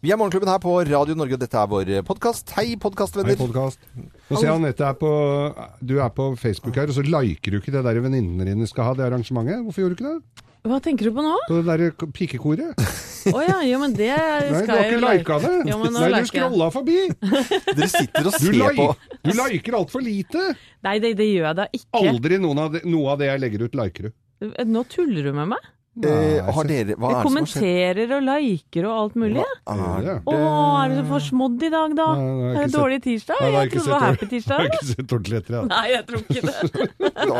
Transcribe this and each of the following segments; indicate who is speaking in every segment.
Speaker 1: Vi er Morgenklubben her på Radio Norge, og dette er vår podkast. Hei,
Speaker 2: Hei,
Speaker 1: podkastvenner.
Speaker 2: podkast. Nå ser jeg Anette er på Du er på Facebook her, og så liker du ikke det der venninnene dine skal ha, det arrangementet. Hvorfor gjorde du ikke det?
Speaker 3: Hva tenker du på nå?
Speaker 2: På det derre pikekoret.
Speaker 3: Å ja, jo, men det skal
Speaker 2: Nei, du har
Speaker 3: jeg jo
Speaker 2: ikke lika det.
Speaker 3: Jo, men nå
Speaker 2: Nei, du
Speaker 3: liker jeg.
Speaker 2: scrolla forbi.
Speaker 1: Dere sitter og
Speaker 2: Du,
Speaker 1: ser på.
Speaker 2: like, du liker altfor lite.
Speaker 3: Nei, det, det gjør jeg da ikke.
Speaker 2: Aldri noen av det, noe av det jeg legger ut, liker du.
Speaker 3: Nå tuller du med meg.
Speaker 1: Eh,
Speaker 2: Nei,
Speaker 1: har dere Hva er det
Speaker 3: Jeg
Speaker 1: som har skjedd?
Speaker 3: kommenterer og liker og alt mulig. jeg.
Speaker 2: ser
Speaker 1: Er
Speaker 2: det.
Speaker 3: Å, er det så forsmådd i dag, da?
Speaker 2: Nei, det har jeg ikke
Speaker 3: er det dårlig tirsdag?
Speaker 2: Nei, det har
Speaker 3: jeg
Speaker 2: jeg ikke sett.
Speaker 3: trodde det var
Speaker 2: Jeg har
Speaker 3: happy tirsdag.
Speaker 2: ikke sett ordentlig etter. jeg.
Speaker 3: Nei, jeg tror ikke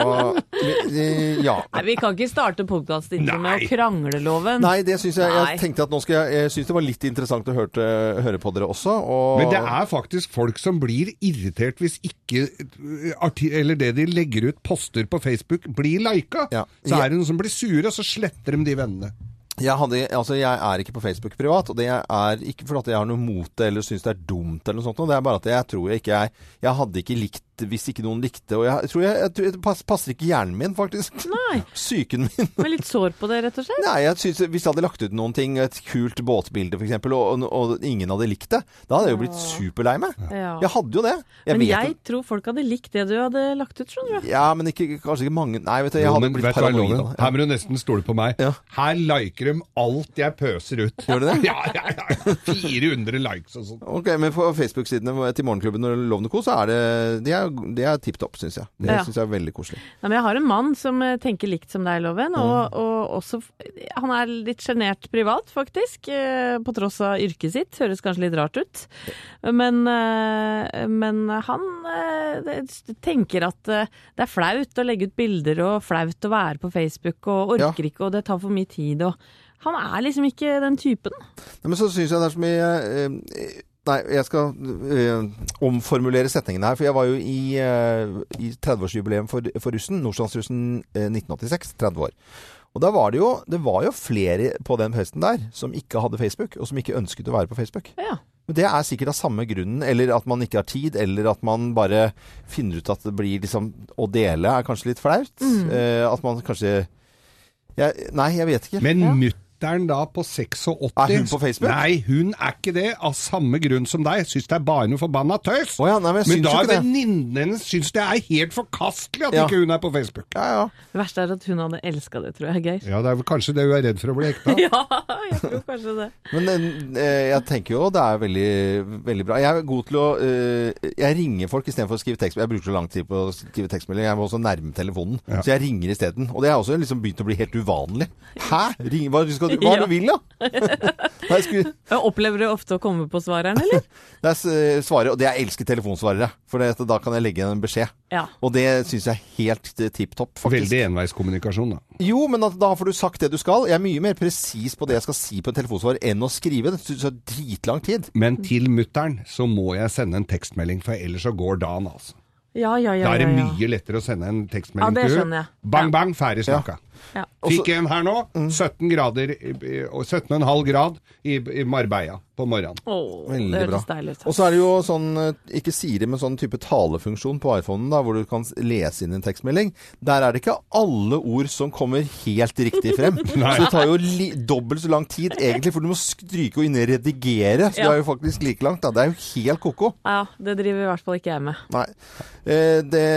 Speaker 3: det.
Speaker 1: da- eh, Ja.
Speaker 3: Nei, Vi kan ikke starte podkastintervjuet med å krangle loven.
Speaker 1: Nei, det syns jeg
Speaker 3: Nei.
Speaker 1: Jeg tenkte at nå skal jeg Jeg syns det var litt interessant å høre, til- høre på dere også. Og
Speaker 2: Men det er faktisk folk som blir irritert hvis ikke eh, arti Eller det de legger ut poster på Facebook, blir lika.
Speaker 1: Ja.
Speaker 2: Så er det noen som blir sure, og så sletter de de vennene.
Speaker 1: jeg, hadde, altså, jeg er ikke på Facebook privat, og det er ikke fordi jeg har noe mot det eller syns det er dumt eller noe sånt. noe. Det er bare at jeg tror jeg ikke jeg Jeg hadde ikke likt hvis ikke noen likte. Og jeg tror jeg, jeg, tror- det pass, passer ikke hjernen min, faktisk.
Speaker 3: Nei.
Speaker 1: Psyken min.
Speaker 3: Med litt sår på det, rett og slett.
Speaker 1: Nei, jeg synes, Hvis jeg hadde lagt ut noen ting, et kult båtbilde f.eks., og, og, og ingen hadde likt det, da hadde jeg jo blitt superlei meg.
Speaker 3: Ja.
Speaker 1: Jeg hadde jo det. Jeg
Speaker 3: Men
Speaker 1: vet jo-
Speaker 3: jeg tror folk hadde likt det du hadde lagt ut, skjønner du.
Speaker 1: Ja, men ikke, kanskje ikke mange Nei, vet du, jeg
Speaker 2: Jo,
Speaker 1: hadde
Speaker 2: men
Speaker 1: blitt
Speaker 2: vet du hva,
Speaker 1: paranoid.
Speaker 2: Loven?
Speaker 1: da.
Speaker 2: Her må du nesten stole på meg.
Speaker 1: Ja.
Speaker 2: Her liker de alt jeg pøser ut.
Speaker 1: Gjør de det?
Speaker 2: Ja, ja, ja. 400 likes og sånn.
Speaker 1: Ok, Men på Facebook-sidene til Morgenklubben og Lovende Co, så er det De er, de er tipp topp, syns jeg. Det
Speaker 3: Ja.
Speaker 1: synes syns jeg er veldig koselig.
Speaker 3: Nei, men jeg har en mann som eh, tenker likt som deg, Loven. Og, og også Han er litt sjenert privat, faktisk. eh, På tross av yrket sitt. Høres kanskje litt rart ut. Men, eh, men han eh, det- tenker at eh, det er flaut å legge ut bilder, og flaut å være på Facebook, og
Speaker 1: Ja.
Speaker 3: orker ikke, og det tar for mye tid, og Han er liksom ikke den typen.
Speaker 1: Nei, men så syns jeg det er så mye eh, Nei, jeg skal eh, omformulere setningen her. For jeg var jo i, eh, i 30-årsjubileum for, for russen, Nordstrandsrussen eh, 1986. 30 år. Og da var det jo Det var jo flere på den festen der som ikke hadde Facebook, og som ikke ønsket å være på Facebook.
Speaker 3: Ja.
Speaker 1: Men Det er sikkert av samme grunnen, eller at man ikke har tid, eller at man bare finner ut at det blir liksom Å dele er kanskje litt flaut. Eh, at man kanskje jeg, Nei, jeg vet ikke.
Speaker 2: Men mutter'n da på 86
Speaker 1: Er hun på Facebook?
Speaker 2: Nei, hun er ikke det, av samme grunn som deg. Syns det er bare noe forbanna tøys.
Speaker 1: Å ja, nei, men jeg
Speaker 2: men
Speaker 1: syns
Speaker 2: da
Speaker 1: jo
Speaker 2: er
Speaker 1: ikke det.
Speaker 2: venninnen hennes syns det er helt forkastelig at
Speaker 1: Ja.
Speaker 2: ikke hun er på Facebook.
Speaker 1: Ja, ja.
Speaker 3: Det verste er at hun hadde elska det, tror jeg, Geir.
Speaker 2: Ja, det er vel kanskje det hun er redd for å bli hekta.
Speaker 3: Ja, jeg tror kanskje det.
Speaker 1: Men eh, jeg tenker jo det er veldig, veldig bra. Jeg er god til å eh, Jeg ringer folk istedenfor å skrive tekstmelding. Jeg bruker så lang tid på å skrive tekstmelding. Jeg må også nærme telefonen.
Speaker 2: Ja.
Speaker 1: Så jeg ringer isteden. Og det har også liksom begynt å bli helt uvanlig. Hæ? Ring, hva skal, du- hva er det du vil, da? Nei, skulle,
Speaker 3: Jeg opplever du ofte å komme på svareren, eller?
Speaker 1: det er s- svaret, og det jeg elsker telefonsvarere. For det, at da kan jeg legge igjen en beskjed.
Speaker 3: Ja.
Speaker 1: Og det syns jeg er helt eh, tipp topp, faktisk.
Speaker 2: Veldig enveiskommunikasjon, da.
Speaker 1: Jo, men at, da får du sagt det du skal. Jeg er mye mer presis på det jeg skal si på en telefonsvarer enn å skrive. Det syns jeg er dritlang tid.
Speaker 2: Men til mutter'n så må jeg sende en tekstmelding, for ellers så går dagen, altså.
Speaker 3: Ja, ja, ja.
Speaker 2: Da er det
Speaker 3: ja, ja.
Speaker 2: mye lettere å sende en
Speaker 3: Ja,
Speaker 2: tekstmelding
Speaker 3: det
Speaker 2: til
Speaker 3: skjønner jeg.
Speaker 2: Bang,
Speaker 3: Ja.
Speaker 2: bang, ferdig snakka.
Speaker 3: Ja.
Speaker 2: Fikk en her nå. 17 grader, eh, og 17,5 grad i, i Marbella på morgenen.
Speaker 3: Åh, det
Speaker 1: Veldig bra.
Speaker 3: høres deilig ut.
Speaker 1: Og så er det jo sånn, eh, ikke Siri, men sånn type talefunksjon på iPhonen, da, hvor du kan s- lese inn en tekstmelding. Der er det ikke alle ord som kommer helt riktig frem. så det tar jo li dobbelt så lang tid egentlig, for du må stryke og inn og redigere. Så
Speaker 3: Ja.
Speaker 1: det er jo faktisk like langt. Da. Det er jo helt ko-ko.
Speaker 3: Ja, det driver i hvert fall ikke jeg med.
Speaker 1: Nei. Eh, det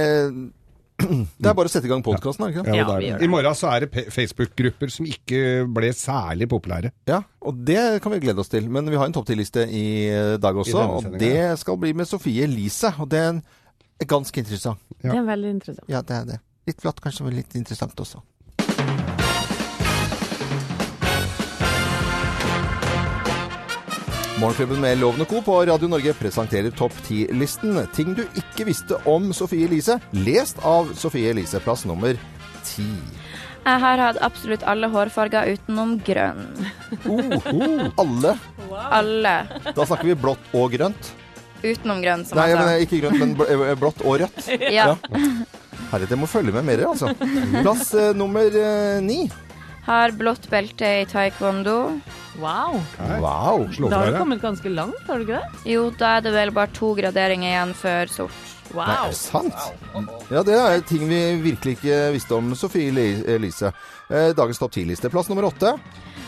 Speaker 1: Det er bare å sette i gang podkasten, er det ikke det?
Speaker 3: Ja,
Speaker 2: og
Speaker 3: vi
Speaker 2: der-
Speaker 3: gjør det.
Speaker 2: I morgen så er det pe- Facebook-grupper som ikke ble særlig populære.
Speaker 1: Ja, og det kan vi glede oss til. Men vi har en topp 10-liste i eh, dag også,
Speaker 2: denne
Speaker 1: og
Speaker 2: sendingen,
Speaker 1: det skal bli med Sofie Elise. Og det er en- er ganske interessant.
Speaker 2: Ja.
Speaker 3: Det er veldig interessant.
Speaker 1: Ja, det er det. Litt flatt kanskje, men litt interessant også. Morgenklubben med Loven og Co. på Radio Norge presenterer Topp 10-listen. Ting du ikke visste om Sofie Elise, lest av Sofie Elise, plass nummer 10.
Speaker 4: Jeg har hatt absolutt alle hårfarger utenom grønn.
Speaker 1: Alle.
Speaker 4: Alle
Speaker 1: Da snakker vi blått og grønt.
Speaker 4: utenom grønn, som
Speaker 1: Nei,
Speaker 4: jeg
Speaker 1: men
Speaker 4: sa.
Speaker 1: ikke grønt, men bl- eh, blått og rødt.
Speaker 4: Ja.
Speaker 1: Herregud, jeg må følge med mer, altså. Plass eh, nummer eh, ni.
Speaker 4: Har blått belte i taekwondo.
Speaker 3: Wow!
Speaker 1: Wow.
Speaker 2: Slå
Speaker 3: Da
Speaker 2: fra
Speaker 3: har du
Speaker 2: deg.
Speaker 3: kommet ganske langt, har du ikke det?
Speaker 4: Jo, da er det vel bare to graderinger igjen før sort.
Speaker 1: Nei, er
Speaker 3: Wow!
Speaker 1: det sant? Ja, det er ting vi virkelig ikke visste om, Sofie Li- Elise. Eh, Dagens topp 10-liste, plass nummer åtte.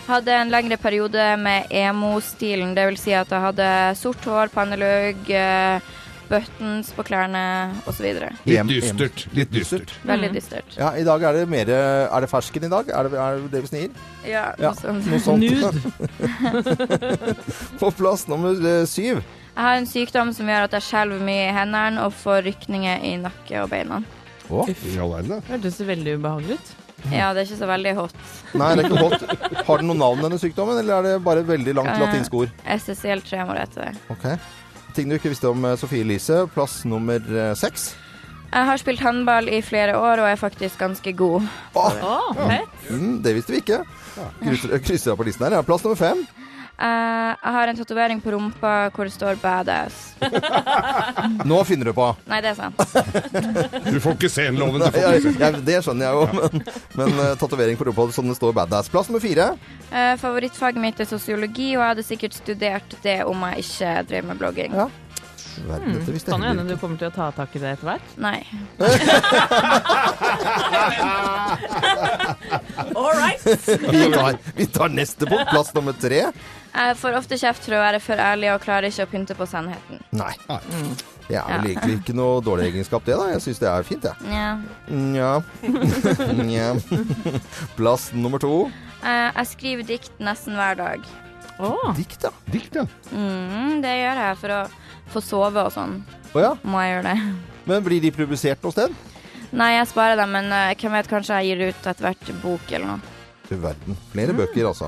Speaker 4: Hadde en lengre periode med emo-stilen. Det vil si at jeg hadde sort hår, pannelugg, eh, buttons på klærne osv.
Speaker 1: Em-
Speaker 2: Litt dystert. Litt dystert.
Speaker 4: Veldig dystert.
Speaker 1: Ja, i dag er det mer eh, Er det fersken i dag? Er det er det, det vi snir?
Speaker 4: Ja,
Speaker 1: Ja.
Speaker 4: noe sånt.
Speaker 1: Noe sånt.
Speaker 3: Nude.
Speaker 1: På plass nummer eh, syv.
Speaker 4: Jeg har en sykdom som gjør at jeg skjelver mye i hendene og får rykninger i nakke og beina.
Speaker 1: Å,
Speaker 2: I all verden, da.
Speaker 3: Hørtes veldig ubehagelig ut.
Speaker 4: Ja, det er ikke så veldig hot.
Speaker 1: nei, det er ikke godt. Har den noe navn, denne sykdommen, eller er det bare veldig langt
Speaker 4: Eh.
Speaker 1: latinsk ord?
Speaker 4: SSL-tremor heter det.
Speaker 1: Ok. Ting du ikke visste om eh, Sofie Elise, plass nummer eh, seks.
Speaker 4: Jeg har spilt håndball i flere år og er faktisk ganske god.
Speaker 1: Å,
Speaker 3: Å, fett!
Speaker 1: mm, det visste vi ikke. Krysser, krysser jeg på listen her. Ja, plass nummer fem.
Speaker 4: Eh, jeg har en tatovering på rumpa hvor det står 'badass'.
Speaker 1: Nå finner du på.
Speaker 4: Nei, det er sant.
Speaker 2: Du får ikke se en loven. Du
Speaker 1: Ja,
Speaker 2: får ikke se.
Speaker 1: ja, det skjønner jeg jo, men, men eh, tatovering på rumpa som det står badass. Plass nummer fire.
Speaker 4: Eh, favorittfaget mitt er sosiologi, og jeg hadde sikkert studert det om jeg ikke drev med blogging.
Speaker 1: Ja. Verden, dette visste jeg
Speaker 3: Kan jo hende
Speaker 1: heller
Speaker 3: sånn du kommer til å ta tak i det etter hvert.
Speaker 4: Nei.
Speaker 3: All right!
Speaker 1: ikke. Vi tar, vi tar neste punkt. Plass nummer tre.
Speaker 4: Jeg får ofte kjeft for å være for ærlig og klarer ikke å pynte på sannheten.
Speaker 1: Nei.
Speaker 2: Nei.
Speaker 1: Det er vel egentlig ikke noe dårlig egenskap, det, da. Jeg syns det er fint, jeg.
Speaker 4: Nja.
Speaker 1: Nja. Nja. Plass nummer to.
Speaker 4: Eh, jeg skriver dikt nesten hver dag.
Speaker 3: Å,
Speaker 1: Dikt, ja.
Speaker 2: Dikt, ja.
Speaker 4: Mm, det gjør jeg for å få sove og sånn.
Speaker 1: Å ja.
Speaker 4: Må jeg gjøre det?
Speaker 1: Men blir de publisert noe sted?
Speaker 4: Nei, jeg sparer dem, men eh, hvem vet, kanskje jeg gir ut etter hvert bok eller noe.
Speaker 1: Du verden. Flere bøker, altså.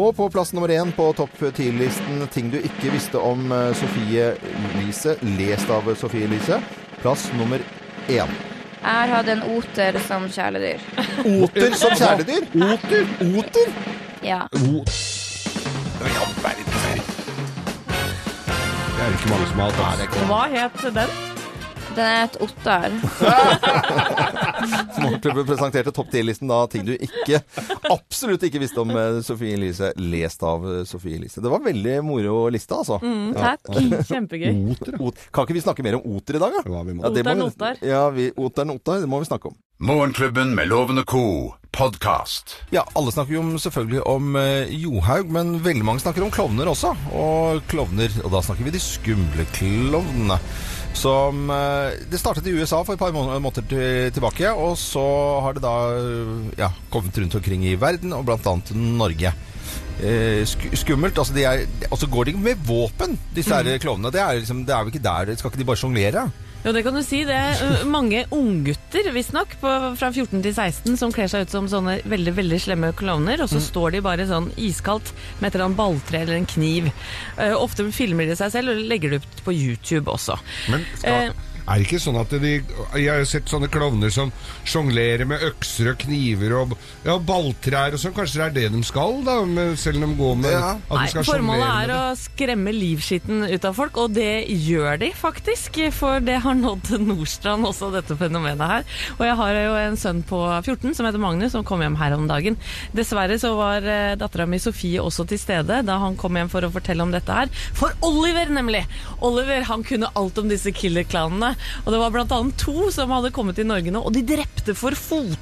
Speaker 1: Og på plass nummer én på topp ti-listen ting du ikke visste om eh, Sofie Elise, lest av Sofie Elise. Plass nummer én.
Speaker 4: Jeg har hatt en oter som kjæledyr.
Speaker 1: Oter som kjæledyr!
Speaker 2: Oter.
Speaker 1: Oter?
Speaker 4: Ja.
Speaker 2: O- Ja, verden, verden. Det er ikke mange som har hatt det.
Speaker 3: hva het den?
Speaker 4: Den er et otter.
Speaker 1: Morgenklubben presenterte topp 10-listen da ting du ikke, absolutt ikke visste om eh, Sofie Elise, lest av eh, Sofie Elise. Det var veldig moro liste, altså.
Speaker 4: Takk.
Speaker 3: Kjempegøy.
Speaker 2: Oter, ja.
Speaker 1: Ot- Kan ikke vi snakke mer om oter i dag, da?
Speaker 2: Hva vi må.
Speaker 1: Ja, det må vi-
Speaker 3: Oteren otar.
Speaker 1: Ja, vi, oteren otar, det må vi snakke om.
Speaker 5: Morgenklubben med Loven og Co. podkast.
Speaker 1: Ja, alle snakker jo om, selvfølgelig om eh, Johaug, men veldig mange snakker om klovner også. Og klovner, og da snakker vi de skumle klovnene. Som eh, Det startet i USA for et par må- måneder til, tilbake, og så har det da eh, ja, kommet rundt omkring i verden, og blant annet Norge. Eh, sk skummelt. Altså de er, og så går de med våpen, disse her
Speaker 3: Mm.
Speaker 1: klovnene. Det er, liksom, det er jo ikke der Skal ikke de bare sjonglere?
Speaker 3: Jo, det kan du si. Det er ø, mange unggutter, visstnok, på- fra 14 til 16, som kler seg ut som sånne veldig veldig slemme klovner, og så står de bare sånn iskaldt med et eller annet balltre eller en kniv. Eh, ofte filmer de seg selv og legger det ut på YouTube også.
Speaker 2: Men skal, er det ikke sånn at de Jeg har jo sett sånne klovner som sjonglerer med økser og kniver og ja, balltrær og sånn. Kanskje det er det de skal, da, med, selv om de går med
Speaker 1: Ja.
Speaker 2: at de
Speaker 3: Nei,
Speaker 2: skal
Speaker 3: formålet
Speaker 2: sjonglere
Speaker 3: er
Speaker 2: med
Speaker 3: å
Speaker 2: det.
Speaker 3: skremme livskiten ut av folk, og det gjør de faktisk. For det har nådd Nordstrand også, dette fenomenet her. Og jeg har jo en sønn på 14 som heter Magnus, som kom hjem her om dagen. Dessverre så var eh, dattera mi Sofie også til stede da han kom hjem for å fortelle om dette her. For Oliver, nemlig! Oliver han kunne alt om disse killer-klanene. Og det var blant annet to som hadde kommet til Norge nå, og de drepte for fote!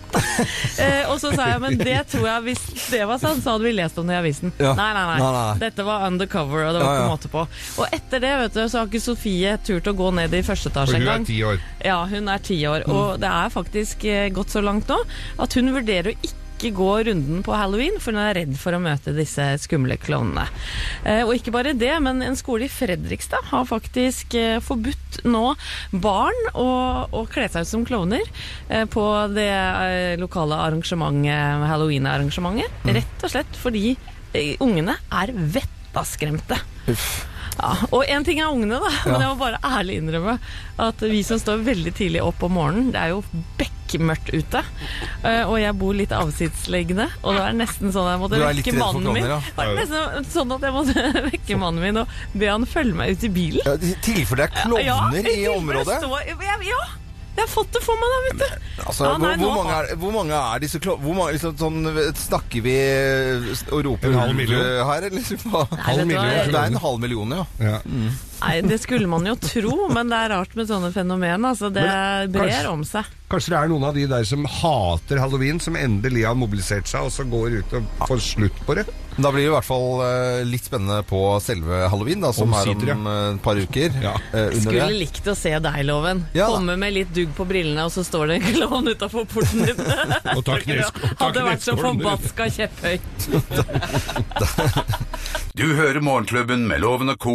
Speaker 3: eh, og så sa jeg, men det tror jeg, hvis det var sant, så hadde vi lest om det i avisen.
Speaker 1: Ja.
Speaker 3: Nei, nei, nei.
Speaker 1: Nei, nei, nei.
Speaker 3: Dette var undercover, og det var
Speaker 1: Ja, ja.
Speaker 3: ikke måte på. Og etter det vet du, så har ikke Sofie turt å gå ned i første
Speaker 2: For
Speaker 3: etasje
Speaker 2: hun
Speaker 3: engang.
Speaker 2: er ti år.
Speaker 3: Ja, hun er ti år, og det er faktisk eh, gått så langt nå at hun vurderer å ikke gå runden på halloween, for hun er redd for å møte disse skumle klovnene. Eh, og ikke bare det, men en skole i Fredrikstad har faktisk eh, forbudt nå barn å, å kle seg ut som klovner eh, på det eh, lokale arrangementet, halloween-arrangementet, rett og slett fordi eh, ungene er vettaskremte. Ja, og en ting er ungene, da, men jeg må bare ærlig innrømme at vi som står veldig tidlig opp om morgenen, det er jo bekmørkt ute. eh, Og jeg bor litt avsidesliggende, og det er nesten sånn jeg måtte
Speaker 1: Du er litt
Speaker 3: vekke
Speaker 1: redd for
Speaker 3: mannen min.
Speaker 1: klovner, ja.
Speaker 3: Det var nesten sånn at jeg måtte vekke mannen min og be han følge meg ut i bilen.
Speaker 1: Ja, I tilfelle det er klovner
Speaker 3: Ja,
Speaker 1: i
Speaker 3: tilfelle
Speaker 1: området?
Speaker 3: står- ja, ja, jeg har fått det for meg, da, vet du.
Speaker 1: Altså,
Speaker 3: Ja, nei,
Speaker 1: hvor, hvor,
Speaker 3: nå-
Speaker 1: mange er, hvor mange er disse klo... Hvor mange, liksom, sånn, snakker vi og roper eh,
Speaker 2: En halv million?
Speaker 1: her, eller? liksom, Hva?
Speaker 3: Nei, vet du hva,
Speaker 2: million,
Speaker 1: Det
Speaker 3: jeg-
Speaker 1: er en halv million, ja.
Speaker 2: Ja.
Speaker 3: Nei, det skulle man jo tro, men det er rart med sånne fenomen. Altså, det
Speaker 2: Men det-
Speaker 3: brer
Speaker 2: kanskje-
Speaker 3: om seg.
Speaker 2: Kanskje det er noen av de der som hater halloween, som endelig har mobilisert seg, og så går ut og får slutt på det.
Speaker 1: Da blir det i hvert fall eh, litt spennende på selve halloween, da, som
Speaker 2: Omsider,
Speaker 1: er
Speaker 2: ja.
Speaker 1: om eh, et par uker.
Speaker 2: Ja.
Speaker 1: eh, under
Speaker 3: Skulle
Speaker 1: det.
Speaker 3: likt å se deg, Loven.
Speaker 1: Ja da.
Speaker 3: Komme med litt dugg på brillene, og så står det en klovn utafor porten din.
Speaker 2: Og ta knesk- og ta
Speaker 3: Hadde vært så
Speaker 2: kneskålen rundt.
Speaker 3: forbaska kjepphøy.
Speaker 5: Du hører Morgenklubben med Loven og Co.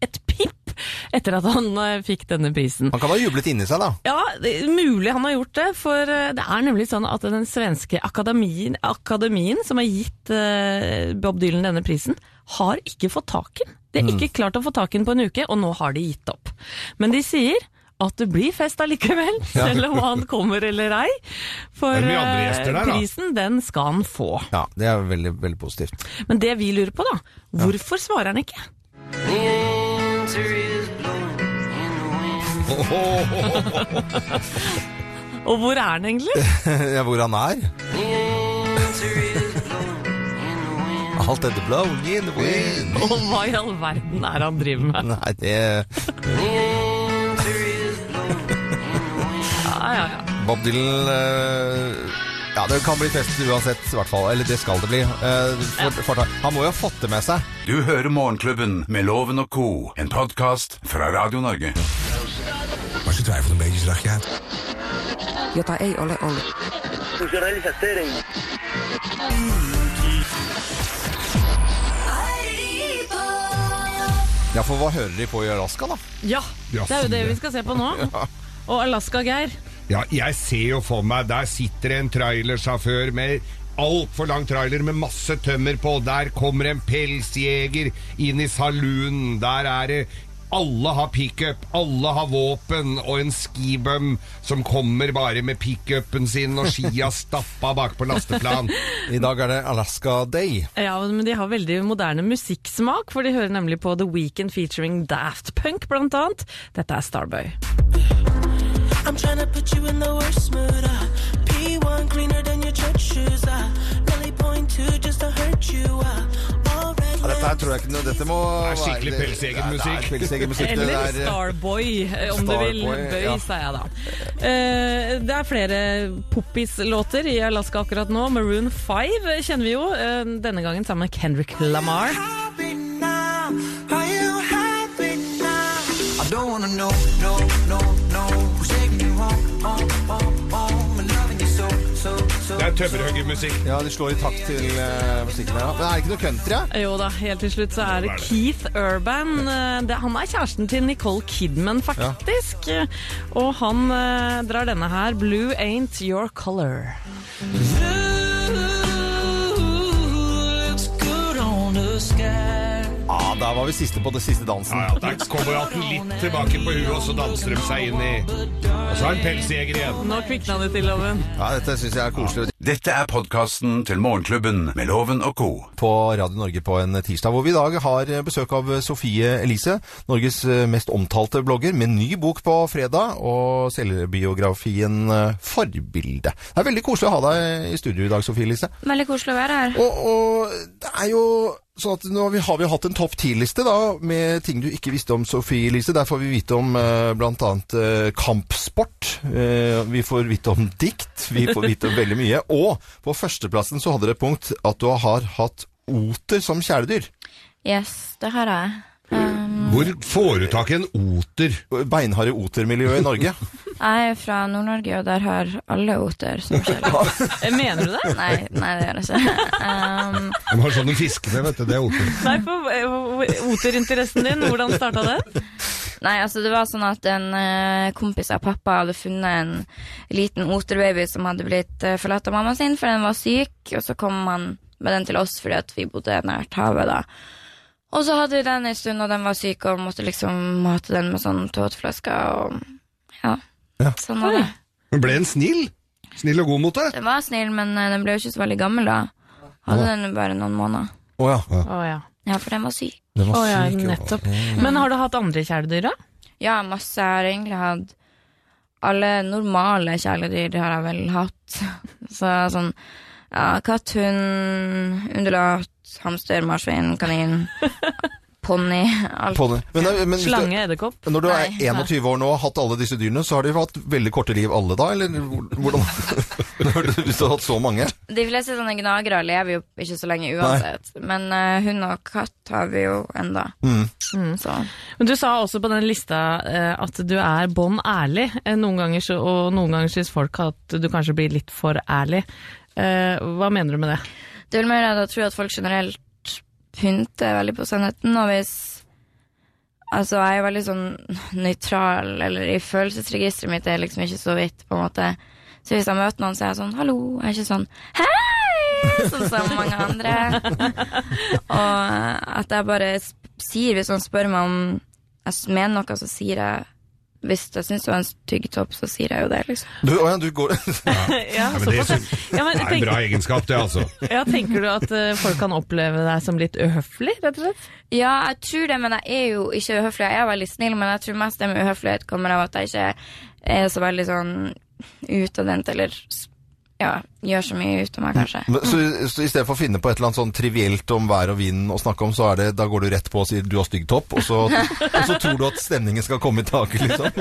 Speaker 3: et pip, etter at han eh, fikk denne prisen.
Speaker 1: Han kan ha jublet inni seg, da.
Speaker 3: Ja, det er mulig han har gjort det, for eh, det er nemlig sånn at den svenske akademien, akademien som har gitt eh, Bob Dylan denne prisen, har ikke fått tak i den. De
Speaker 2: Mm.
Speaker 3: har ikke klart å få tak i den på en uke, og nå har de gitt opp. Men de sier at det blir fest allikevel, selv om han kommer eller ei. For
Speaker 2: Det er mye andre
Speaker 3: eh,
Speaker 2: gjester der, da.
Speaker 3: prisen, den skal han få.
Speaker 1: Ja, Det er veldig, veldig positivt.
Speaker 3: Men det vi lurer på da, hvorfor svarer han ikke? Og hvor er han egentlig?
Speaker 1: Ja, Hvor han er? Alt dette blowing in the wind
Speaker 3: Og hva i all verden er han driver med?
Speaker 1: Nei, det
Speaker 3: Ja, ja, ja.
Speaker 1: Bob Dylan eh, Ja, det kan bli fest uansett, i hvert fall. Eller det skal det bli. Eh, for, for, han må jo ha fått det med seg.
Speaker 5: Du hører Morgenklubben med Loven og Co., en podkast fra Radio Norge.
Speaker 6: Maar ze twijfelde een beetje. Ze dacht, ja,
Speaker 7: jota ei ole ollut.
Speaker 1: Ja, For hva hører de på i Alaska, da?
Speaker 3: Ja,
Speaker 2: Ja,
Speaker 3: det er jo det
Speaker 2: fy.
Speaker 3: vi skal se på nå. Og Alaska-Geir.
Speaker 2: Ja, jeg ser jo for meg, der sitter en trailersjåfør med altfor lang trailer med masse tømmer på. Der kommer en pelsjeger inn i saloonen. Der er det alle har pickup, alle har våpen, og en skibum som kommer bare med pickupen sin og skia stappa bak på lasteplan.
Speaker 1: I dag er det Alaska Day.
Speaker 3: Ja, men de har veldig moderne musikksmak, for de hører nemlig på The Weekend featuring Daft Punk, blant annet. Dette er Starboy.
Speaker 8: I'm tryna put you in the worst mood. Uh. P1 cleaner than your church shoes. Uh. Nelly point two just to hurt you. Uh. All red
Speaker 1: Ja, dette her tror jeg ikke noe Dette må
Speaker 2: Det er skikkelig pelsjegermusikk.
Speaker 1: Det er pelsjegermusikk. det
Speaker 3: Eller
Speaker 1: der, eh,
Speaker 3: Starboy, eh, om du vil.
Speaker 1: Starboy,
Speaker 3: Bøy,
Speaker 1: ja.
Speaker 3: sa jeg da. Eh, det er flere poppis-låter i Alaska akkurat nå. Maroon 5 kjenner vi jo, eh, denne gangen sammen med Kendrick Lamar.
Speaker 8: happy now. Are you happy now?
Speaker 6: I don't wanna know, no, no, no. Who's taking you home, home, home, home? I'm loving you so, so, so.
Speaker 2: Det er tømmerhoggermusikk.
Speaker 1: Ja, de slår i takt til eh, musikken her. da. Men er det ikke noe country, ja?
Speaker 3: Jo da, helt til slutt så er det Keith Urban. Eh, Det, han er kjæresten til Nicole Kidman, faktisk. Og han eh, drar denne her. Blue ain't your color.
Speaker 8: Blue looks good on the sky.
Speaker 1: Ja, der Ah, var vi siste på det siste dansen.
Speaker 2: Ja, ja, Der kommer hatten litt tilbake på huet, og så danser de seg inn i Og så er det en pelsjeger igjen.
Speaker 3: Nå kvikna det til, Loven.
Speaker 1: Ja, Dette syns jeg er koselig.
Speaker 5: Dette er podkasten til Morgenklubben med Loven og Co.
Speaker 1: på Radio Norge på en tirsdag, hvor vi i dag har besøk av Sofie Elise, Norges eh, mest omtalte blogger, med ny bok på fredag, og selvbiografien eh, Forbilde. Det er veldig koselig å ha deg i studio i dag, Sofie Elise.
Speaker 4: Veldig koselig å være her.
Speaker 1: Og, og det er jo sånn at nå har vi- har vi hatt en topp ti-liste da, med ting du ikke visste om, Sofie Elise. Der får vi vite om eh, blant annet eh, kampsport. Eh, vi får vite om dikt. Vi får vite om veldig mye. Og på førsteplassen så hadde det et punkt at du har hatt oter som kjæledyr.
Speaker 4: Yes, det har jeg.
Speaker 2: Hvor får du tak i en oter?
Speaker 1: Beinharde otermiljøet i Norge.
Speaker 4: Jeg er fra Nord-Norge, og der har alle oter som skjer.
Speaker 3: Eh, Mener du det?
Speaker 4: Nei, nei, det gjør jeg ikke. Um,
Speaker 2: De har sånne fiskene, vet du. Det er oter.
Speaker 3: Nei, for eh, oterinteressen din, hvordan starta den?
Speaker 4: Nei, altså det var sånn at en eh, kompis av pappa hadde funnet en liten oterbaby som hadde blitt eh, forlatt av mamma sin, for den var syk, og så kom han med den til oss fordi at vi bodde nært havet da. Og så hadde vi den en stund, og den var syk, og måtte liksom mate den med sånn tåteflasker, og ja,
Speaker 1: Ja.
Speaker 4: sånn var det.
Speaker 2: Men ble en snill? Snill og god mot deg?
Speaker 4: Den var snill, men eh, den ble jo ikke så veldig gammel da. Hadde den bare noen måneder.
Speaker 1: Å ja.
Speaker 3: Å ja.
Speaker 4: Ja, for den var syk.
Speaker 1: Den
Speaker 3: Å
Speaker 1: var
Speaker 3: ja,
Speaker 1: syk, jo.
Speaker 3: nettopp. Men har du hatt andre kjæledyr, da?
Speaker 4: Ja, masse. Jeg har egentlig hatt Alle normale kjæledyr har jeg vel hatt. Så sånn ja, katt, hund, undulat, hamster, marsvin, kanin, ponni. Alt.
Speaker 1: Pony. Men, nei, men hvis du-
Speaker 3: Slange, edderkopp?
Speaker 1: Når du er
Speaker 4: Nei, nei.
Speaker 1: 21 år nå og har hatt alle disse dyrene, så har de hatt veldig korte liv alle da, eller hvordan? Hvis du har hatt så mange.
Speaker 4: De fleste sånne gnagere lever jo ikke så lenge uansett. Men eh, hund og katt har vi jo enda. Mm, Så
Speaker 3: Men du sa også på den lista eh, at du er bånn ærlig. Eh, Noen ganger så, og noen ganger syns folk at du kanskje blir litt for ærlig. Eh, hva mener du med det?
Speaker 4: det er vel mer at jeg tror at folk generelt pynter veldig på sannheten, og hvis Altså, jeg er jo veldig sånn nøytral, eller i følelsesregisteret mitt er jeg liksom ikke så vidt, på en måte. Så hvis jeg møter noen, så er jeg sånn 'hallo', jeg er ikke sånn 'hei', sånn som mange andre. og at jeg bare sp- sier, hvis noen spør meg om jeg s- mener noe, så sier jeg Hvis jeg syns det var en stygg topp, så sier jeg jo det, liksom.
Speaker 1: Du, å ja, du går
Speaker 3: Ja,
Speaker 2: men det
Speaker 3: såpass, ja. Ja, men
Speaker 2: Det er en
Speaker 3: tenk-
Speaker 2: bra egenskap, det, altså.
Speaker 3: ja, tenker du at eh, folk kan oppleve deg som litt uhøflig, rett og slett?
Speaker 4: Ja, jeg tror det, men jeg er jo ikke uhøflig. Jeg er veldig snill, men jeg tror mest det med uhøflighet kommer av at jeg ikke er så veldig sånn utadvendt, eller s- ja, gjør så mye ut av meg, kanskje.
Speaker 1: Men, så, så i stedet for å finne på et eller annet sånn trivielt om vær og vind å snakke om, så er det, da går du rett på og sier du har stygg topp, og så, og så tror du at stemningen skal komme i taket, liksom.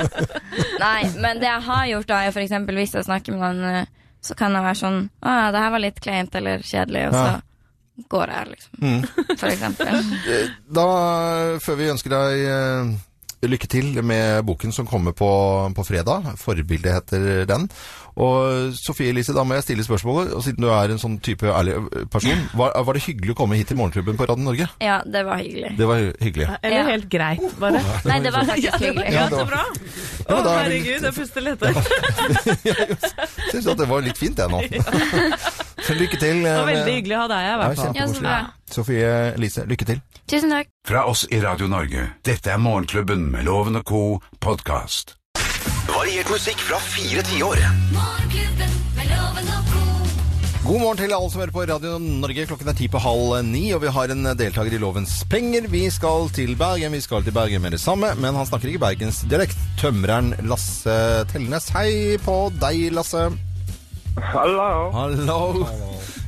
Speaker 4: Nei, men det jeg har gjort da, er for eksempel hvis jeg snakker med noen, eh, så kan jeg være sånn Å ja, det her var litt kleint eller kjedelig, og så
Speaker 1: Ja.
Speaker 4: går jeg, liksom. For eksempel.
Speaker 1: Da, før vi ønsker deg eh, lykke til med boken som kommer på, på fredag, forbildet heter den. Og Sofie Elise, da må jeg stille spørsmålet, og siden du er en sånn type ærlig person, var, var det hyggelig å komme hit til Morgenklubben på Radio Norge?
Speaker 4: Ja, det var hyggelig.
Speaker 1: Det var hy- hyggelig.
Speaker 3: Eller
Speaker 4: Ja.
Speaker 3: helt greit, bare?
Speaker 4: Nei, det var faktisk hyggelig.
Speaker 1: Ja, det var-
Speaker 3: bra! Å,
Speaker 1: men da er det-
Speaker 3: herregud, jeg puster lettere.
Speaker 1: Syns at det var litt fint, jeg nå. Så lykke til. eh,
Speaker 3: Det var veldig hyggelig å ha deg her, i hvert fall.
Speaker 4: Ja, så bra.
Speaker 1: Sofie Elise, lykke til.
Speaker 4: Tusen takk.
Speaker 5: Fra oss i Radio Norge. Dette er Morgenklubben med Loven og Co. podkast.
Speaker 9: Variert musikk fra fire tiår.
Speaker 10: Morgenklubben med loven og ko.
Speaker 1: God morgen til alle som hører på Radio Norge. Klokken er ti på halv ni, og vi har en deltaker i Lovens penger. Vi skal til Bergen. Vi skal til Bergen med det samme, men han snakker ikke bergensdialekt. Tømreren Lasse Tellenes. Hei på deg, Lasse.
Speaker 11: Hallo.
Speaker 1: Hallo.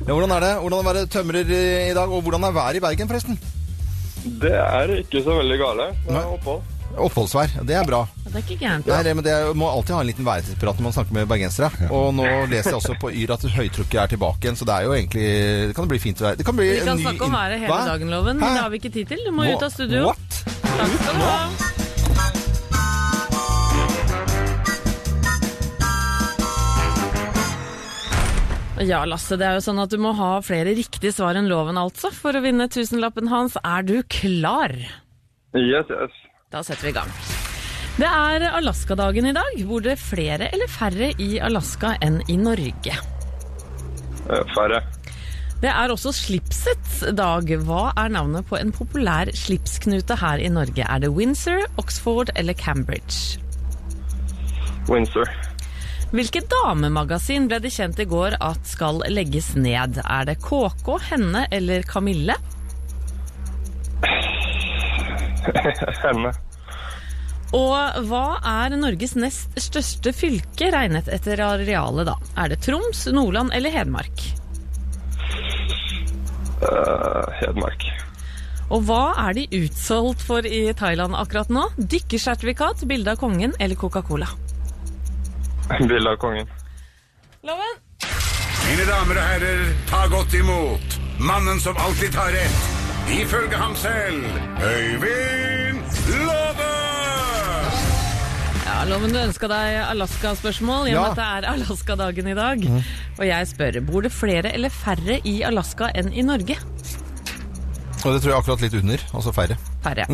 Speaker 1: Ja, hvordan er det? Hvordan er det å være tømrer i dag? Og hvordan er været i Bergen, forresten?
Speaker 11: Det er ikke så veldig gale. Det
Speaker 1: Nei.
Speaker 11: er opphold.
Speaker 1: Oppholdsvær. Det er bra.
Speaker 3: Det er ikke gærent.
Speaker 1: Nei, det, men det er- må alltid ha en liten værprat når man snakker med bergensere. Og nå leser jeg også på Yr at høytrykket er tilbake igjen, så det er jo egentlig Det kan bli fint vær. Det kan bli
Speaker 3: Vi
Speaker 1: en
Speaker 3: kan
Speaker 1: ny
Speaker 3: snakke om
Speaker 1: inn-
Speaker 3: været hele
Speaker 1: Hva?
Speaker 3: dagen, Loven,
Speaker 1: Hæ?
Speaker 3: men det har vi ikke tid til. Du må ut av studio.
Speaker 1: What?
Speaker 3: Takk skal du ha. Ja, Lasse, det er jo sånn at du må ha flere riktige svar enn loven, altså, for å vinne tusenlappen hans. Er du klar?
Speaker 11: Yes, yes.
Speaker 3: Da setter vi i gang. Det er Alaskadagen i dag. Bor det flere eller færre i Alaska enn i Norge?
Speaker 11: Eh, Færre.
Speaker 3: Det er også slipsets dag. Hva er navnet på en populær slipsknute her i Norge? Er det Windsor, Oxford eller Cambridge?
Speaker 11: Windsor.
Speaker 3: Hvilket damemagasin ble det kjent i går at skal legges ned? Er det KK, Henne eller Kamille?
Speaker 11: Henne.
Speaker 3: Og hva er Norges nest største fylke regnet etter arealet, da? Er det Troms, Nordland eller Hedmark?
Speaker 11: Eh, Hedmark.
Speaker 3: Og hva er de utsolgt for i Thailand akkurat nå? Dykkersertifikat, bilde av kongen eller Coca-Cola?
Speaker 11: Bilde av kongen.
Speaker 3: Loven!
Speaker 5: Mine damer og herrer, ta godt imot mannen som alltid tar rett. Ifølge ham selv Øyvind Låve!
Speaker 3: Ja, Loven, du ønska deg Alaska-spørsmål, i og
Speaker 1: Ja.
Speaker 3: med at det er Alaska-dagen i dag. Og jeg spør, bor det flere eller færre i Alaska enn i Norge?
Speaker 1: Og det tror jeg akkurat litt under, altså færre.
Speaker 3: færre.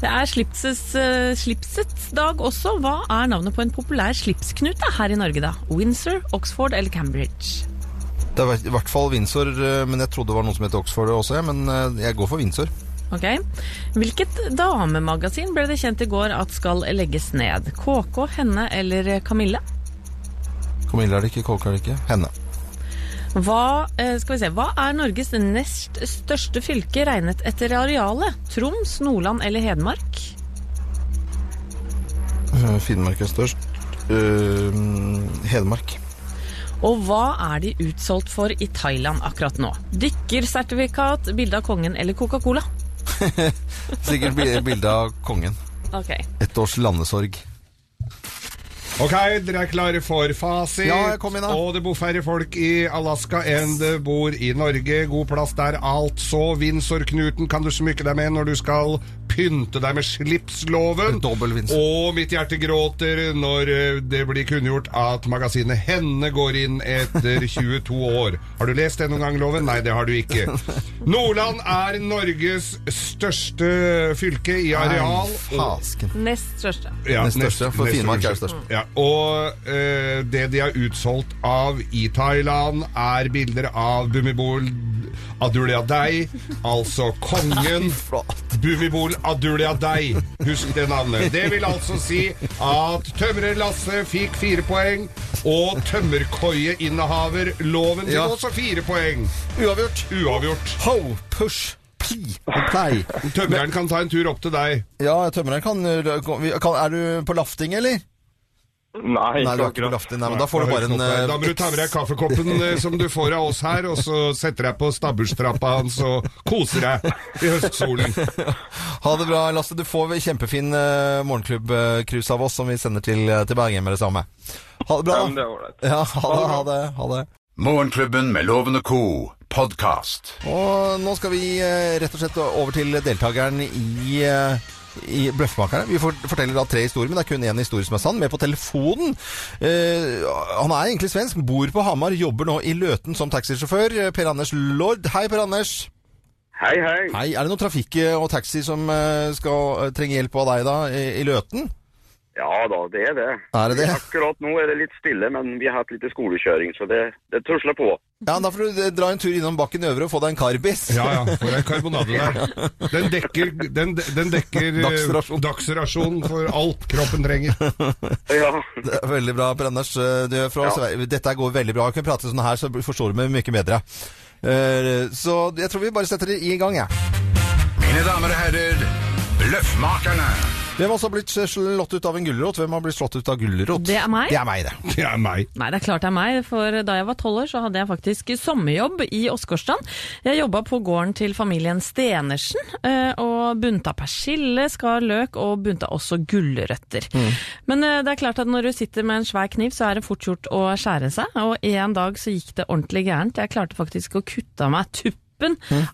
Speaker 3: Det er slipsets, eh, slipsets dag også. Hva er navnet på en populær slipsknute her i Norge, da? Windsor, Oxford eller Cambridge?
Speaker 1: Det er i hvert fall Windsor, eh, men jeg trodde det var noe som het Oxford også, jeg, men eh, jeg går for Windsor.
Speaker 3: Ok. Hvilket damemagasin ble det kjent i går at skal legges ned? KK, Henne eller Kamille?
Speaker 1: Camilla er det ikke, Kolka er det ikke. Henne.
Speaker 3: Hva, eh, skal vi se, hva er Norges nest største fylke regnet etter arealet? Troms, Nordland eller Hedmark?
Speaker 1: Eh, Finnmark er størst. Eh, Hedmark.
Speaker 3: Og hva er de utsolgt for i Thailand akkurat nå? Dykkersertifikat, bilde av kongen eller Coca-Cola?
Speaker 1: Sikkert bi- bilde av kongen.
Speaker 3: Ok.
Speaker 1: Et års landesorg.
Speaker 2: Ok, dere er klare for fasit.
Speaker 1: Ja, kom inn da.
Speaker 2: Og det bor færre folk i Alaska enn det bor i Norge. God plass der, altså. Windsor-knuten kan du smykke deg med når du skal pynte deg med slipsloven.
Speaker 1: Dobbel Windsor.
Speaker 2: Og mitt hjerte gråter når eh, det blir kunngjort at magasinet Henne går inn etter 22 år. Har du lest det noen gang, Loven? Nei, det har du ikke. Nordland er Norges største fylke i areal.
Speaker 1: Nei, fasken.
Speaker 3: Nest største.
Speaker 2: Ja,
Speaker 1: Nest største, for
Speaker 2: nest
Speaker 1: Finnmark er det
Speaker 2: største. Ja, og eh, det de har utsolgt av i Thailand, er bilder av Bumibol Adulyadei, altså kongen. Bumibol Adulyadei, husk det navnet. Det vil altså si at tømrer Lasse fikk fire poeng, og tømmerkoieinnehaver Loven fikk
Speaker 1: Ja.
Speaker 2: også fire poeng.
Speaker 1: Uavgjort.
Speaker 2: Uavgjort.
Speaker 1: Ho, push, pi og plei.
Speaker 2: Tømreren kan ta en tur opp til deg.
Speaker 1: Ja, tømmeren kan, øh, kan Er du på lafting, eller?
Speaker 11: Nei,
Speaker 1: Nei, du
Speaker 11: ikke
Speaker 1: er ikke på
Speaker 11: akkurat.
Speaker 1: lafting. Nei, men da får du bare en eh,
Speaker 2: Da må du ta med deg kaffekoppen eh, som du får av oss her, og så setter deg på stabburstrappa hans og koser deg i høstsolen.
Speaker 1: Ha det bra, Lasse. Du får kjempefin uh, morgenklubb-cruise av oss som vi sender til, øh, til Bergen med det samme. Ha det bra.
Speaker 11: Ja, men det er ålreit.
Speaker 1: Ja, ha det, ha det, ha det.
Speaker 5: Morgenklubben med Loven og co. podkast.
Speaker 1: Og nå skal vi eh, rett og slett over til deltakeren i eh, i Bløffmakerne. Vi for- forteller da tre historier, men det er kun én historie som er sann. Med på telefonen. Eh, han er egentlig svensk, bor på Hamar, jobber nå i Løten som taxisjåfør. Eh, Per Anders Lord. Hei, Per Anders.
Speaker 11: Hei, hei.
Speaker 1: Hei. Er det noe trafikk eh, og taxi som eh, skal eh, trenge hjelp av deg da, i, i Løten?
Speaker 12: Ja da, det er det.
Speaker 1: Er det det?
Speaker 12: Akkurat nå er det litt stille, men vi har hatt litt skolekjøring, så det, det tusler på.
Speaker 1: Ja, da får du eh, dra en tur innom bakken øvre og få deg en karbis.
Speaker 2: Ja, ja. For en karbonade der. Den dekker, den, den dekker eh,
Speaker 1: Dagsrasjon.
Speaker 2: dagsrasjon for alt kroppen trenger.
Speaker 12: Ja.
Speaker 1: Det er veldig bra, Per Anders. Du er fra
Speaker 12: Ja.
Speaker 1: Sverige. Dette går veldig bra. Kan vi prate sånn her, så forstår du meg mye bedre. Eh, Så jeg tror vi bare setter det i gang, jeg.
Speaker 5: Mine damer og herrer, Bløffmakerne.
Speaker 1: Hvem også har blitt slått ut av en gulrot? Hvem har blitt slått ut av gulrot?
Speaker 3: Det er meg.
Speaker 1: Det er meg, det.
Speaker 2: Det er meg.
Speaker 3: Nei, det er klart det er meg, for da jeg var tolv år så hadde jeg faktisk sommerjobb i Åsgårdstrand. Jeg jobba på gården til familien Stenersen, eh, og bunta persille, skar løk og bunta også gulrøtter. Men eh, det er klart at når du sitter med en svær kniv, så er det fort gjort å skjære seg, og en dag så gikk det ordentlig gærent. Jeg klarte faktisk å kutte av meg tuppen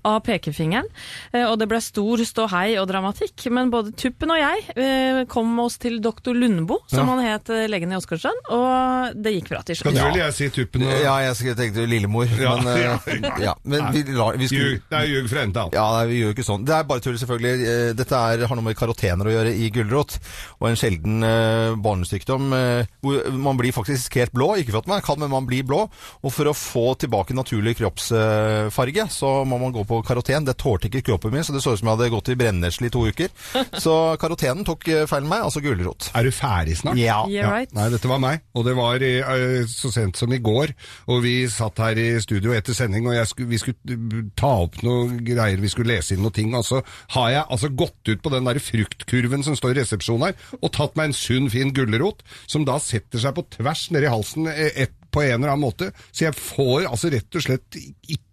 Speaker 3: av pekefingeren, eh, og det ble stor ståhei og dramatikk, men både Tuppen og jeg eh, kom oss til doktor Lundbo, som han het eh, legen i Åsgårdstrand, og det gikk bra til
Speaker 2: Kan
Speaker 3: slutt.
Speaker 2: du eller jeg si tuppen? og-
Speaker 1: Ja, jeg skulle- tenkte Lillemor,
Speaker 2: Ja,
Speaker 1: men, eh,
Speaker 2: ja.
Speaker 1: ja, men vi, lar- vi skulle
Speaker 2: Ljug. Det er ljug fra ende til annen.
Speaker 1: Ja, nei, vi gjør jo ikke sånn. Det er bare tull, selvfølgelig. Eh, Dette er, har noe med karotener å gjøre i gulrot, og en sjelden eh, barnesykdom. Eh, hvor man blir faktisk helt blå, ikke for at man er kald, men man blir blå. Og for å få tilbake naturlig kroppsfarge, så må man gå på karoten. Det tålte ikke kroppen min, så det så ut som jeg hadde gått i brennesle i to uker. Så karotenen tok eh, feil med meg, altså gulrot.
Speaker 2: Er du ferdig snart?
Speaker 1: Ja.
Speaker 3: Yeah, right.
Speaker 2: Nei, dette var meg, og det var i, eh, så sent som i går. Og vi satt her i studio etter sending, og jeg skulle, vi skulle ta opp noen greier, vi skulle lese inn noen ting. Og så har jeg altså gått ut på den der fruktkurven som står i resepsjonen her, og tatt meg en sunn, fin gulrot, som da setter seg på tvers nedi halsen eh, et, på en eller annen måte. Så jeg får altså rett og slett ikke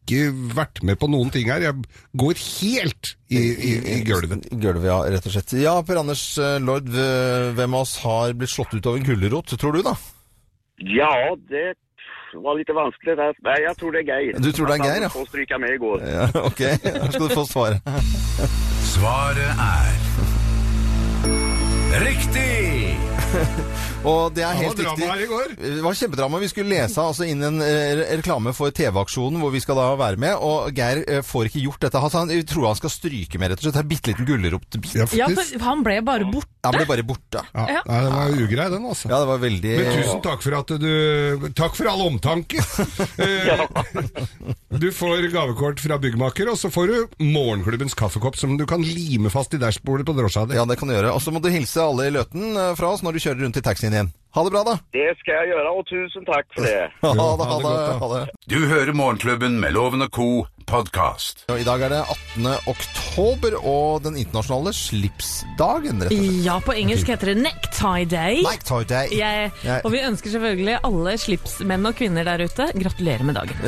Speaker 2: vært med på noen ting her. Jeg går helt i, i, i gulvet.
Speaker 1: Gulvet, ja, rett og slett. Ja, Per Anders eh, Lord, eh, hvem av oss har blitt slått ut av en gulrot, tror du da?
Speaker 12: ja, det var litt vanskelig. der. Nei, jeg tror det er Geir.
Speaker 1: Du tror det er Geir, ja.
Speaker 12: ja? Han stryka med i går.
Speaker 1: Ja, ok, her skal du få svaret.
Speaker 5: Svaret er Riktig!
Speaker 1: Og det er
Speaker 2: Det var
Speaker 1: helt riktig.
Speaker 2: drama her i går.
Speaker 1: Det var kjempedrama. Vi skulle lese altså inn en eh, re- reklame for TV-aksjonen hvor vi skal da være med, og Geir eh, får ikke gjort dette. Han sa han jeg tror han skal stryke med, rett og slett. Det er en bitte liten gulrotbit.
Speaker 2: Ja,
Speaker 3: Ja,
Speaker 2: faktisk.
Speaker 3: for han ble bare borte.
Speaker 1: Han ble bare borte.
Speaker 2: Ja,
Speaker 3: Ja.
Speaker 2: Nei, den var ugrei, den, altså.
Speaker 1: Ja, det var veldig
Speaker 2: Men tusen takk for at du Takk for all omtanke. Eh, Du får gavekort fra byggmaker, og så får du morgenklubbens kaffekopp som du kan lime fast i dashbordet på drosja di.
Speaker 1: Ja, det kan du gjøre. Og så må du hilse alle i Løten eh, fra oss når du kjører rundt i taxien din. Ha det bra, da.
Speaker 12: Det skal jeg gjøre, og tusen takk for det.
Speaker 1: Ha det, ha det. Ha det.
Speaker 5: Du hører Morgenklubben med Loven og co. podkast.
Speaker 1: Og I dag er det 18. oktober og den internasjonale slipsdagen, rett og slett.
Speaker 3: Ja, på engelsk heter det necktie day.
Speaker 1: Necktie day.
Speaker 3: Jeg,
Speaker 1: Jeg-
Speaker 3: og vi ønsker selvfølgelig alle slipsmenn og -kvinner der ute gratulerer med dagen.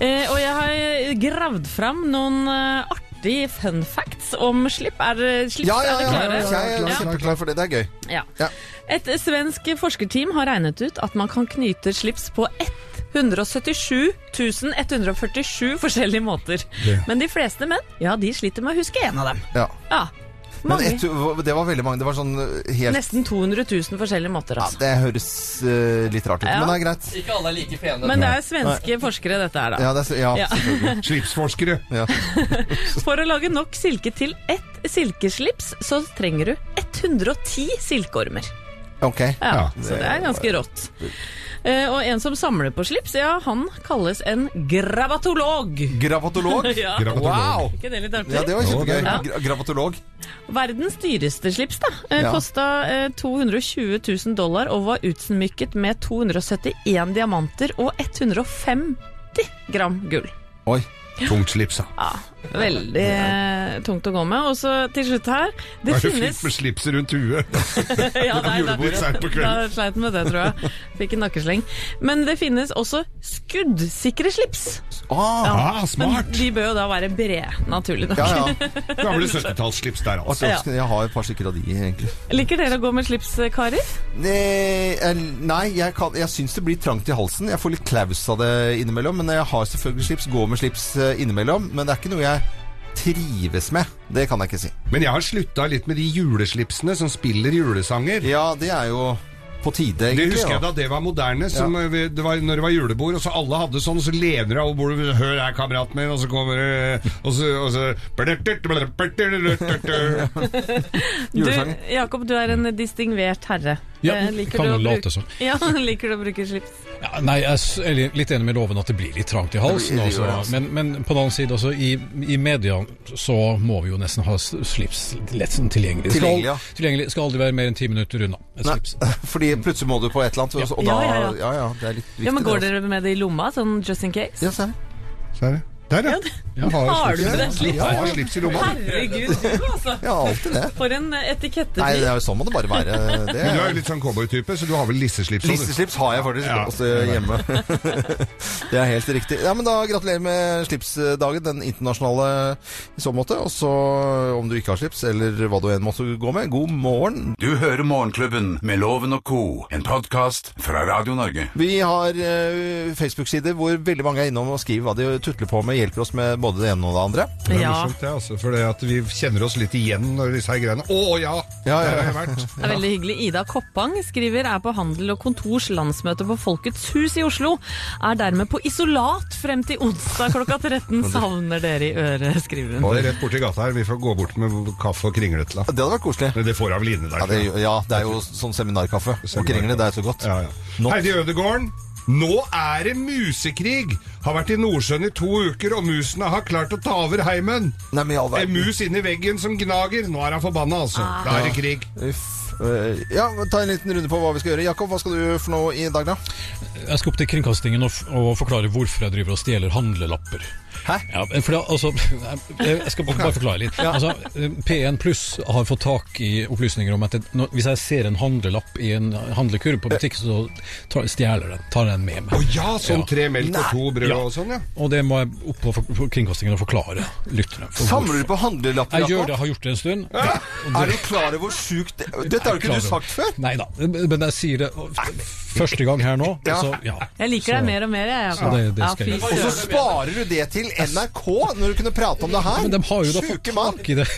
Speaker 3: eh, og jeg har gravd fram noen eh, artige fun facts om slipp. Er, eh, slips,
Speaker 1: Ja, ja,
Speaker 3: er
Speaker 1: ja,
Speaker 3: dere
Speaker 1: ja,
Speaker 3: klare?
Speaker 1: ja, jeg er kjempeklar for det. Det er gøy.
Speaker 3: Ja. Et svensk forskerteam har regnet ut at man kan knyte slips på 177 147 forskjellige måter.
Speaker 1: Det.
Speaker 3: Men de fleste menn ja, de sliter med å huske én av dem.
Speaker 1: Ja.
Speaker 3: Ja,
Speaker 1: Men
Speaker 3: mange.
Speaker 1: et, det var veldig mange. Det var sånn helt
Speaker 3: Nesten 200 000 forskjellige måter.
Speaker 1: ja,
Speaker 3: Altså.
Speaker 1: Det høres eh, litt rart ut,
Speaker 3: Ja.
Speaker 1: men det er greit.
Speaker 3: Ikke alle er like pene. Men det er svenske forskere dette er, da.
Speaker 1: Ja, det er, ja,
Speaker 3: Ja.
Speaker 1: selvfølgelig.
Speaker 2: Slipsforskere.
Speaker 1: Ja.
Speaker 3: For å lage nok silke til ett silkeslips, så trenger du 110 silkeormer.
Speaker 1: Ok.
Speaker 3: Ja, så det er ganske rått. Eh, Og en som samler på slips, ja, han kalles en gravatolog.
Speaker 1: Gravatolog?
Speaker 3: ja.
Speaker 1: Gravatolog. Wow.
Speaker 3: Ikke det litt artig?
Speaker 1: Ja, det var kjempegøy.
Speaker 3: Ja.
Speaker 1: Gra- Gravatolog.
Speaker 3: Verdens dyreste slips da eh,
Speaker 1: Ja.
Speaker 3: kosta eh, 220 000 dollar og var utsmykket med 271 diamanter og 150 gram gull.
Speaker 1: Oi.
Speaker 2: Tungt slips, da.
Speaker 3: Ja, veldig eh, tungt å gå med. Og så til slutt her
Speaker 2: Det
Speaker 3: Det
Speaker 2: er det
Speaker 3: finnes
Speaker 2: fint med slips rundt huet.
Speaker 3: ja,
Speaker 2: På julebordet seint på kvelden.
Speaker 3: Da sleit den med det, tror jeg. Fikk en nakkesleng. Men det finnes også skuddsikre slips.
Speaker 1: Ah,
Speaker 2: ah, smart.
Speaker 3: Men de bør jo da være brede, naturlig nok.
Speaker 1: Ja,
Speaker 2: Gamle 70-tallsslips der,
Speaker 1: Og
Speaker 2: altså.
Speaker 1: så skal jeg ha et par stykker av de, egentlig.
Speaker 3: Liker dere å gå med slips, karer?
Speaker 1: Nei, el- nei, jeg, kan, jeg syns det blir trangt i halsen. Jeg får litt klaus av det innimellom. Men jeg har selvfølgelig slips, går med slips eh, innimellom. Men det er ikke noe jeg trives med. Det kan jeg ikke si.
Speaker 2: Men jeg har slutta litt med de juleslipsene som spiller julesanger.
Speaker 1: Ja, det er jo på tide,
Speaker 2: Det
Speaker 1: egentlig.
Speaker 2: husker jeg da det var moderne. Som eh, vi- det var, når det var julebord, og så alle hadde sånn, så lener du deg over bordet Hør her, kameraten min, og så kommer det Og så, og så
Speaker 3: Du, Jakob, du er en distingvert herre.
Speaker 13: Ja,
Speaker 3: Eh, liker
Speaker 13: kan
Speaker 3: du å
Speaker 13: man
Speaker 3: bruke-
Speaker 13: late som.
Speaker 3: Ja, liker du å bruke slips?
Speaker 13: Ja, nei, jeg er s- er li- litt enig med loven at det blir litt trangt i halsen.
Speaker 1: Det blir- det
Speaker 13: altså.
Speaker 1: gjør det, altså.
Speaker 13: Men, men på den annen side, altså, i, i media så må vi jo nesten ha s- slips lett sånn tilgjengelig. Det
Speaker 1: Tilgjengelig,
Speaker 13: skal,
Speaker 1: ja.
Speaker 13: tilgjengelig skal aldri være mer enn ti minutter unna. Et
Speaker 1: Nei,
Speaker 13: slips.
Speaker 1: fordi plutselig må du på et eller annet, og, og da
Speaker 3: Ja, ja,
Speaker 1: ja
Speaker 3: ja.
Speaker 1: ja, det er litt viktig.
Speaker 3: Ja, men Går
Speaker 1: det,
Speaker 3: dere med det i lomma, sånn just in case?
Speaker 1: Ja, se.
Speaker 2: Der, ja.
Speaker 3: Ja, har du
Speaker 2: slips i lomma.
Speaker 3: det? Slips?
Speaker 2: Ja, jeg har slips i lomma.
Speaker 3: Herregud, du altså.
Speaker 1: Ja, alltid det.
Speaker 3: For en
Speaker 1: altså. Nei,
Speaker 3: eh,
Speaker 1: det
Speaker 3: etikettefyr.
Speaker 1: er jo sånn må det bare være. Det
Speaker 2: Men du er jo litt sånn cowboytype, så du har vel lisseslips? også, du?
Speaker 1: Lisseslips har jeg faktisk
Speaker 2: Ja.
Speaker 1: også hjemme. det er helt riktig. Ja, men da Gratulerer med slipsdagen, den internasjonale i så måte. Og så, om du ikke har slips, eller hva du enn måtte gå med, god morgen.
Speaker 5: Du hører Morgenklubben med Loven og co., en podkast fra Radio Norge.
Speaker 1: Vi har eh, Facebook-sider hvor veldig mange er innom og skriver hva de tutler på med. Hjelper oss med både det ene og det andre.
Speaker 2: Det er
Speaker 3: Ja.
Speaker 2: morsomt, det, altså. For det at vi kjenner oss litt igjen når disse her greiene Å ja!
Speaker 1: Ja, ja,
Speaker 2: Der har
Speaker 1: ja.
Speaker 2: jeg vært.
Speaker 3: Det er veldig hyggelig. Ida Koppang skriver er på Handel og Kontors landsmøte på Folkets hus i Oslo. Er dermed på isolat frem til onsdag klokka 13. Savner dere i øret, skriver hun.
Speaker 2: Det er rett borti gata her. Vi får gå bort med kaffe og kringle til
Speaker 1: Det
Speaker 2: henne.
Speaker 1: hadde vært koselig.
Speaker 2: Men Det får hun vel inne der.
Speaker 1: Ja, det, er jo- ja, det er jo sånn seminarkaffe. Og kringle, det er så godt.
Speaker 2: Ja, ja.
Speaker 1: Nå-
Speaker 2: Heidi Ødegården. Nå er det musekrig! Har vært i Nordsjøen i to uker, og musene har klart å ta over heimen.
Speaker 1: Nei, men i all
Speaker 2: En
Speaker 1: verden.
Speaker 2: mus inni veggen som gnager. Nå er han forbanna, altså. Da er det krig.
Speaker 1: Uff. Eh, Ja, ta en liten runde på hva vi skal gjøre. Jakob, hva skal du for noe i dag, da?
Speaker 13: Jeg skal opp til kringkastingen og, f og forklare hvorfor jeg driver og stjeler handlelapper.
Speaker 1: Hæ?
Speaker 13: Ja, for det, altså, jeg jeg skal bare bare forklare litt. Altså, P1 Pluss har fått tak i opplysninger om at det, når, hvis jeg ser en handlelapp i en handlekurv på butikk, så tar, stjeler jeg den. Tar den
Speaker 2: Å
Speaker 13: med meg.
Speaker 2: ja, sånn tre melk og to brød
Speaker 13: Ja.
Speaker 2: og sånn, ja.
Speaker 13: Og det må jeg opp på for- for kringkastingen og forklare lytterne. for
Speaker 1: Samler du
Speaker 13: hvorfor.
Speaker 1: på handlelapper,
Speaker 13: Jeg gjør
Speaker 1: Jakob?
Speaker 13: det, jeg har gjort det en stund.
Speaker 1: Er du klar over hvor sjukt det- Dette har jo ikke du sagt før.
Speaker 13: Nei da, men jeg sier det og- første gang her nå.
Speaker 1: Ja.
Speaker 13: Så, ja.
Speaker 3: Jeg liker deg mer og mer, jeg,
Speaker 13: Ja,
Speaker 3: Jakob.
Speaker 13: det- det skal jeg
Speaker 3: fy
Speaker 13: gjøre.
Speaker 1: Og så
Speaker 3: søren.
Speaker 1: sparer du det til NRK, når du kunne prate om det her.
Speaker 13: Men de har jo da fått
Speaker 1: Sjuke mann.
Speaker 13: tak i det.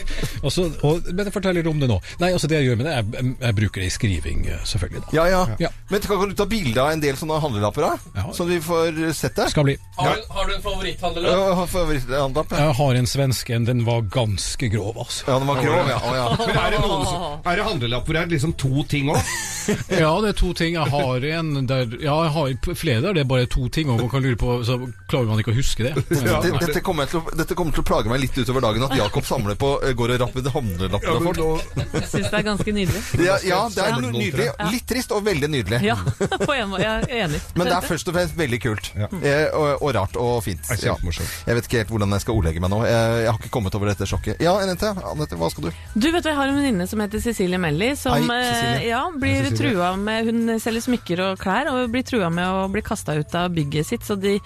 Speaker 13: Og så- og, men jeg forteller litt om det nå. Nei, altså det jeg gjør med det, jeg, jeg bruker det i skriving, eh, selvfølgelig. Da.
Speaker 1: Ja, ja.
Speaker 13: Ja.
Speaker 1: Men kan du ta bilde av en del sånne handlelapper, da?
Speaker 13: Ja.
Speaker 1: Sånn vi får sett det?
Speaker 13: Skal bli.
Speaker 1: Har-
Speaker 14: du en favoritthandler?
Speaker 1: Ja, favoritthandlapp, ja.
Speaker 13: Jeg har en svenske, en, den var ganske grov, altså.
Speaker 1: Ja, den var grov, ja. Å, ja.
Speaker 2: Men er det, noen som, er det handlelapp hvor det er liksom to ting òg?
Speaker 13: Ja, det er to ting. Jeg har en der Ja, jeg har flere der det er bare to ting, og man kan lure på Så klarer man ikke å huske det.
Speaker 1: Ja, dette, dette, kommer jeg til å, dette kommer til å plage meg litt utover dagen at Jakob samler på eh, går og rapper handlelappene
Speaker 15: Ja,
Speaker 1: av
Speaker 15: men
Speaker 1: folk.
Speaker 3: Jeg syns det er ganske nydelig.
Speaker 1: Ja, ja, det er
Speaker 3: Ja.
Speaker 1: nydelig. Litt trist og veldig nydelig.
Speaker 3: Ja, på en måte. Jeg er enig.
Speaker 1: Men det er først og fremst veldig kult. Eh, og, og rart og fint.
Speaker 2: Det er kjempemorsomt.
Speaker 1: Jeg vet ikke helt hvordan jeg skal ordlegge meg nå. Jeg, jeg har ikke kommet over dette sjokket. Ja, Anette, Anette hva skal du?
Speaker 3: Du vet du, Jeg har en venninne som heter Cecilie Melly, som
Speaker 1: Hei, Cecilie.
Speaker 3: eh, ja,
Speaker 1: Hei,
Speaker 3: blir
Speaker 1: Cecilie.
Speaker 3: trua med Hun selger smykker og klær, og blir trua med å bli kasta ut av bygget sitt. Så de,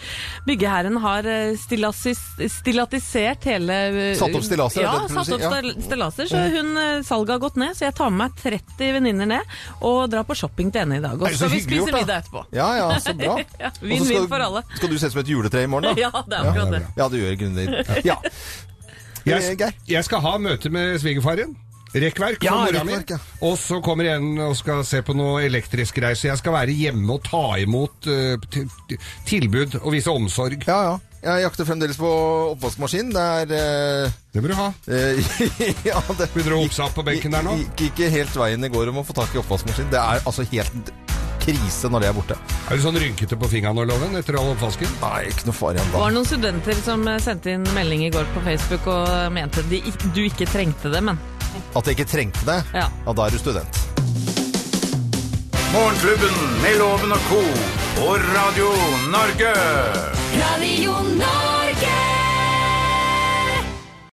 Speaker 3: byggeherren har eh, stillasis- stillatisert hele eh,
Speaker 1: Satt opp stillaser,
Speaker 3: Ja,
Speaker 1: er det det du
Speaker 3: satt
Speaker 1: sier?
Speaker 3: opp
Speaker 1: Ja. Mm.
Speaker 3: stil- stillaser. Så hun, eh, salget har gått ned, så jeg tar med meg 30 venninner ned og drar på shopping til henne i dag. Og
Speaker 1: Er det
Speaker 3: så
Speaker 1: så
Speaker 3: vi
Speaker 1: hyggelig
Speaker 3: spiser
Speaker 1: gjort, da?
Speaker 3: middag etterpå.
Speaker 1: Ja, ja, så bra.
Speaker 3: Ja,
Speaker 1: Og så
Speaker 3: Vinn-vinn
Speaker 1: skal-
Speaker 3: for alle.
Speaker 1: Skal du se ut som et juletre i morgen, da?
Speaker 3: Ja, det er akkurat det.
Speaker 1: Ja, du gjør Gunnhild. Ja. Eh,
Speaker 2: Jeg, jeg skal ha møte med svigerfaren. Rekkverk
Speaker 1: Ja,
Speaker 2: for mora mi.
Speaker 1: rekkverk, ja.
Speaker 2: Og så kommer jeg inn og skal se på noe elektrisk greier. Så jeg skal være hjemme og ta imot eh, til- til- tilbud og vise omsorg.
Speaker 1: Ja, ja. Jeg jakter fremdeles på oppvaskmaskin. Det er eh,
Speaker 2: Det må du ha.
Speaker 1: ja, det
Speaker 2: Begynner du å hopse opp på benken der nå?
Speaker 1: Gikk ikke helt veien i går om å få tak i oppvaskmaskin. Det er altså helt krise når det er borte.
Speaker 2: Er du sånn rynkete på fingeren nå, Loven, etter all oppvasken?
Speaker 1: Nei, ikke noe fare igjen
Speaker 3: Det
Speaker 1: da.
Speaker 3: var noen studenter som eh, sendte inn melding i går på Facebook og mente de, ikk- du ikke trengte det, men
Speaker 1: At jeg ikke trengte det?
Speaker 3: Ja.
Speaker 1: ja da er du student.
Speaker 5: Morgenklubben med Loven og co. på Radio Norge.
Speaker 4: Radio Norge.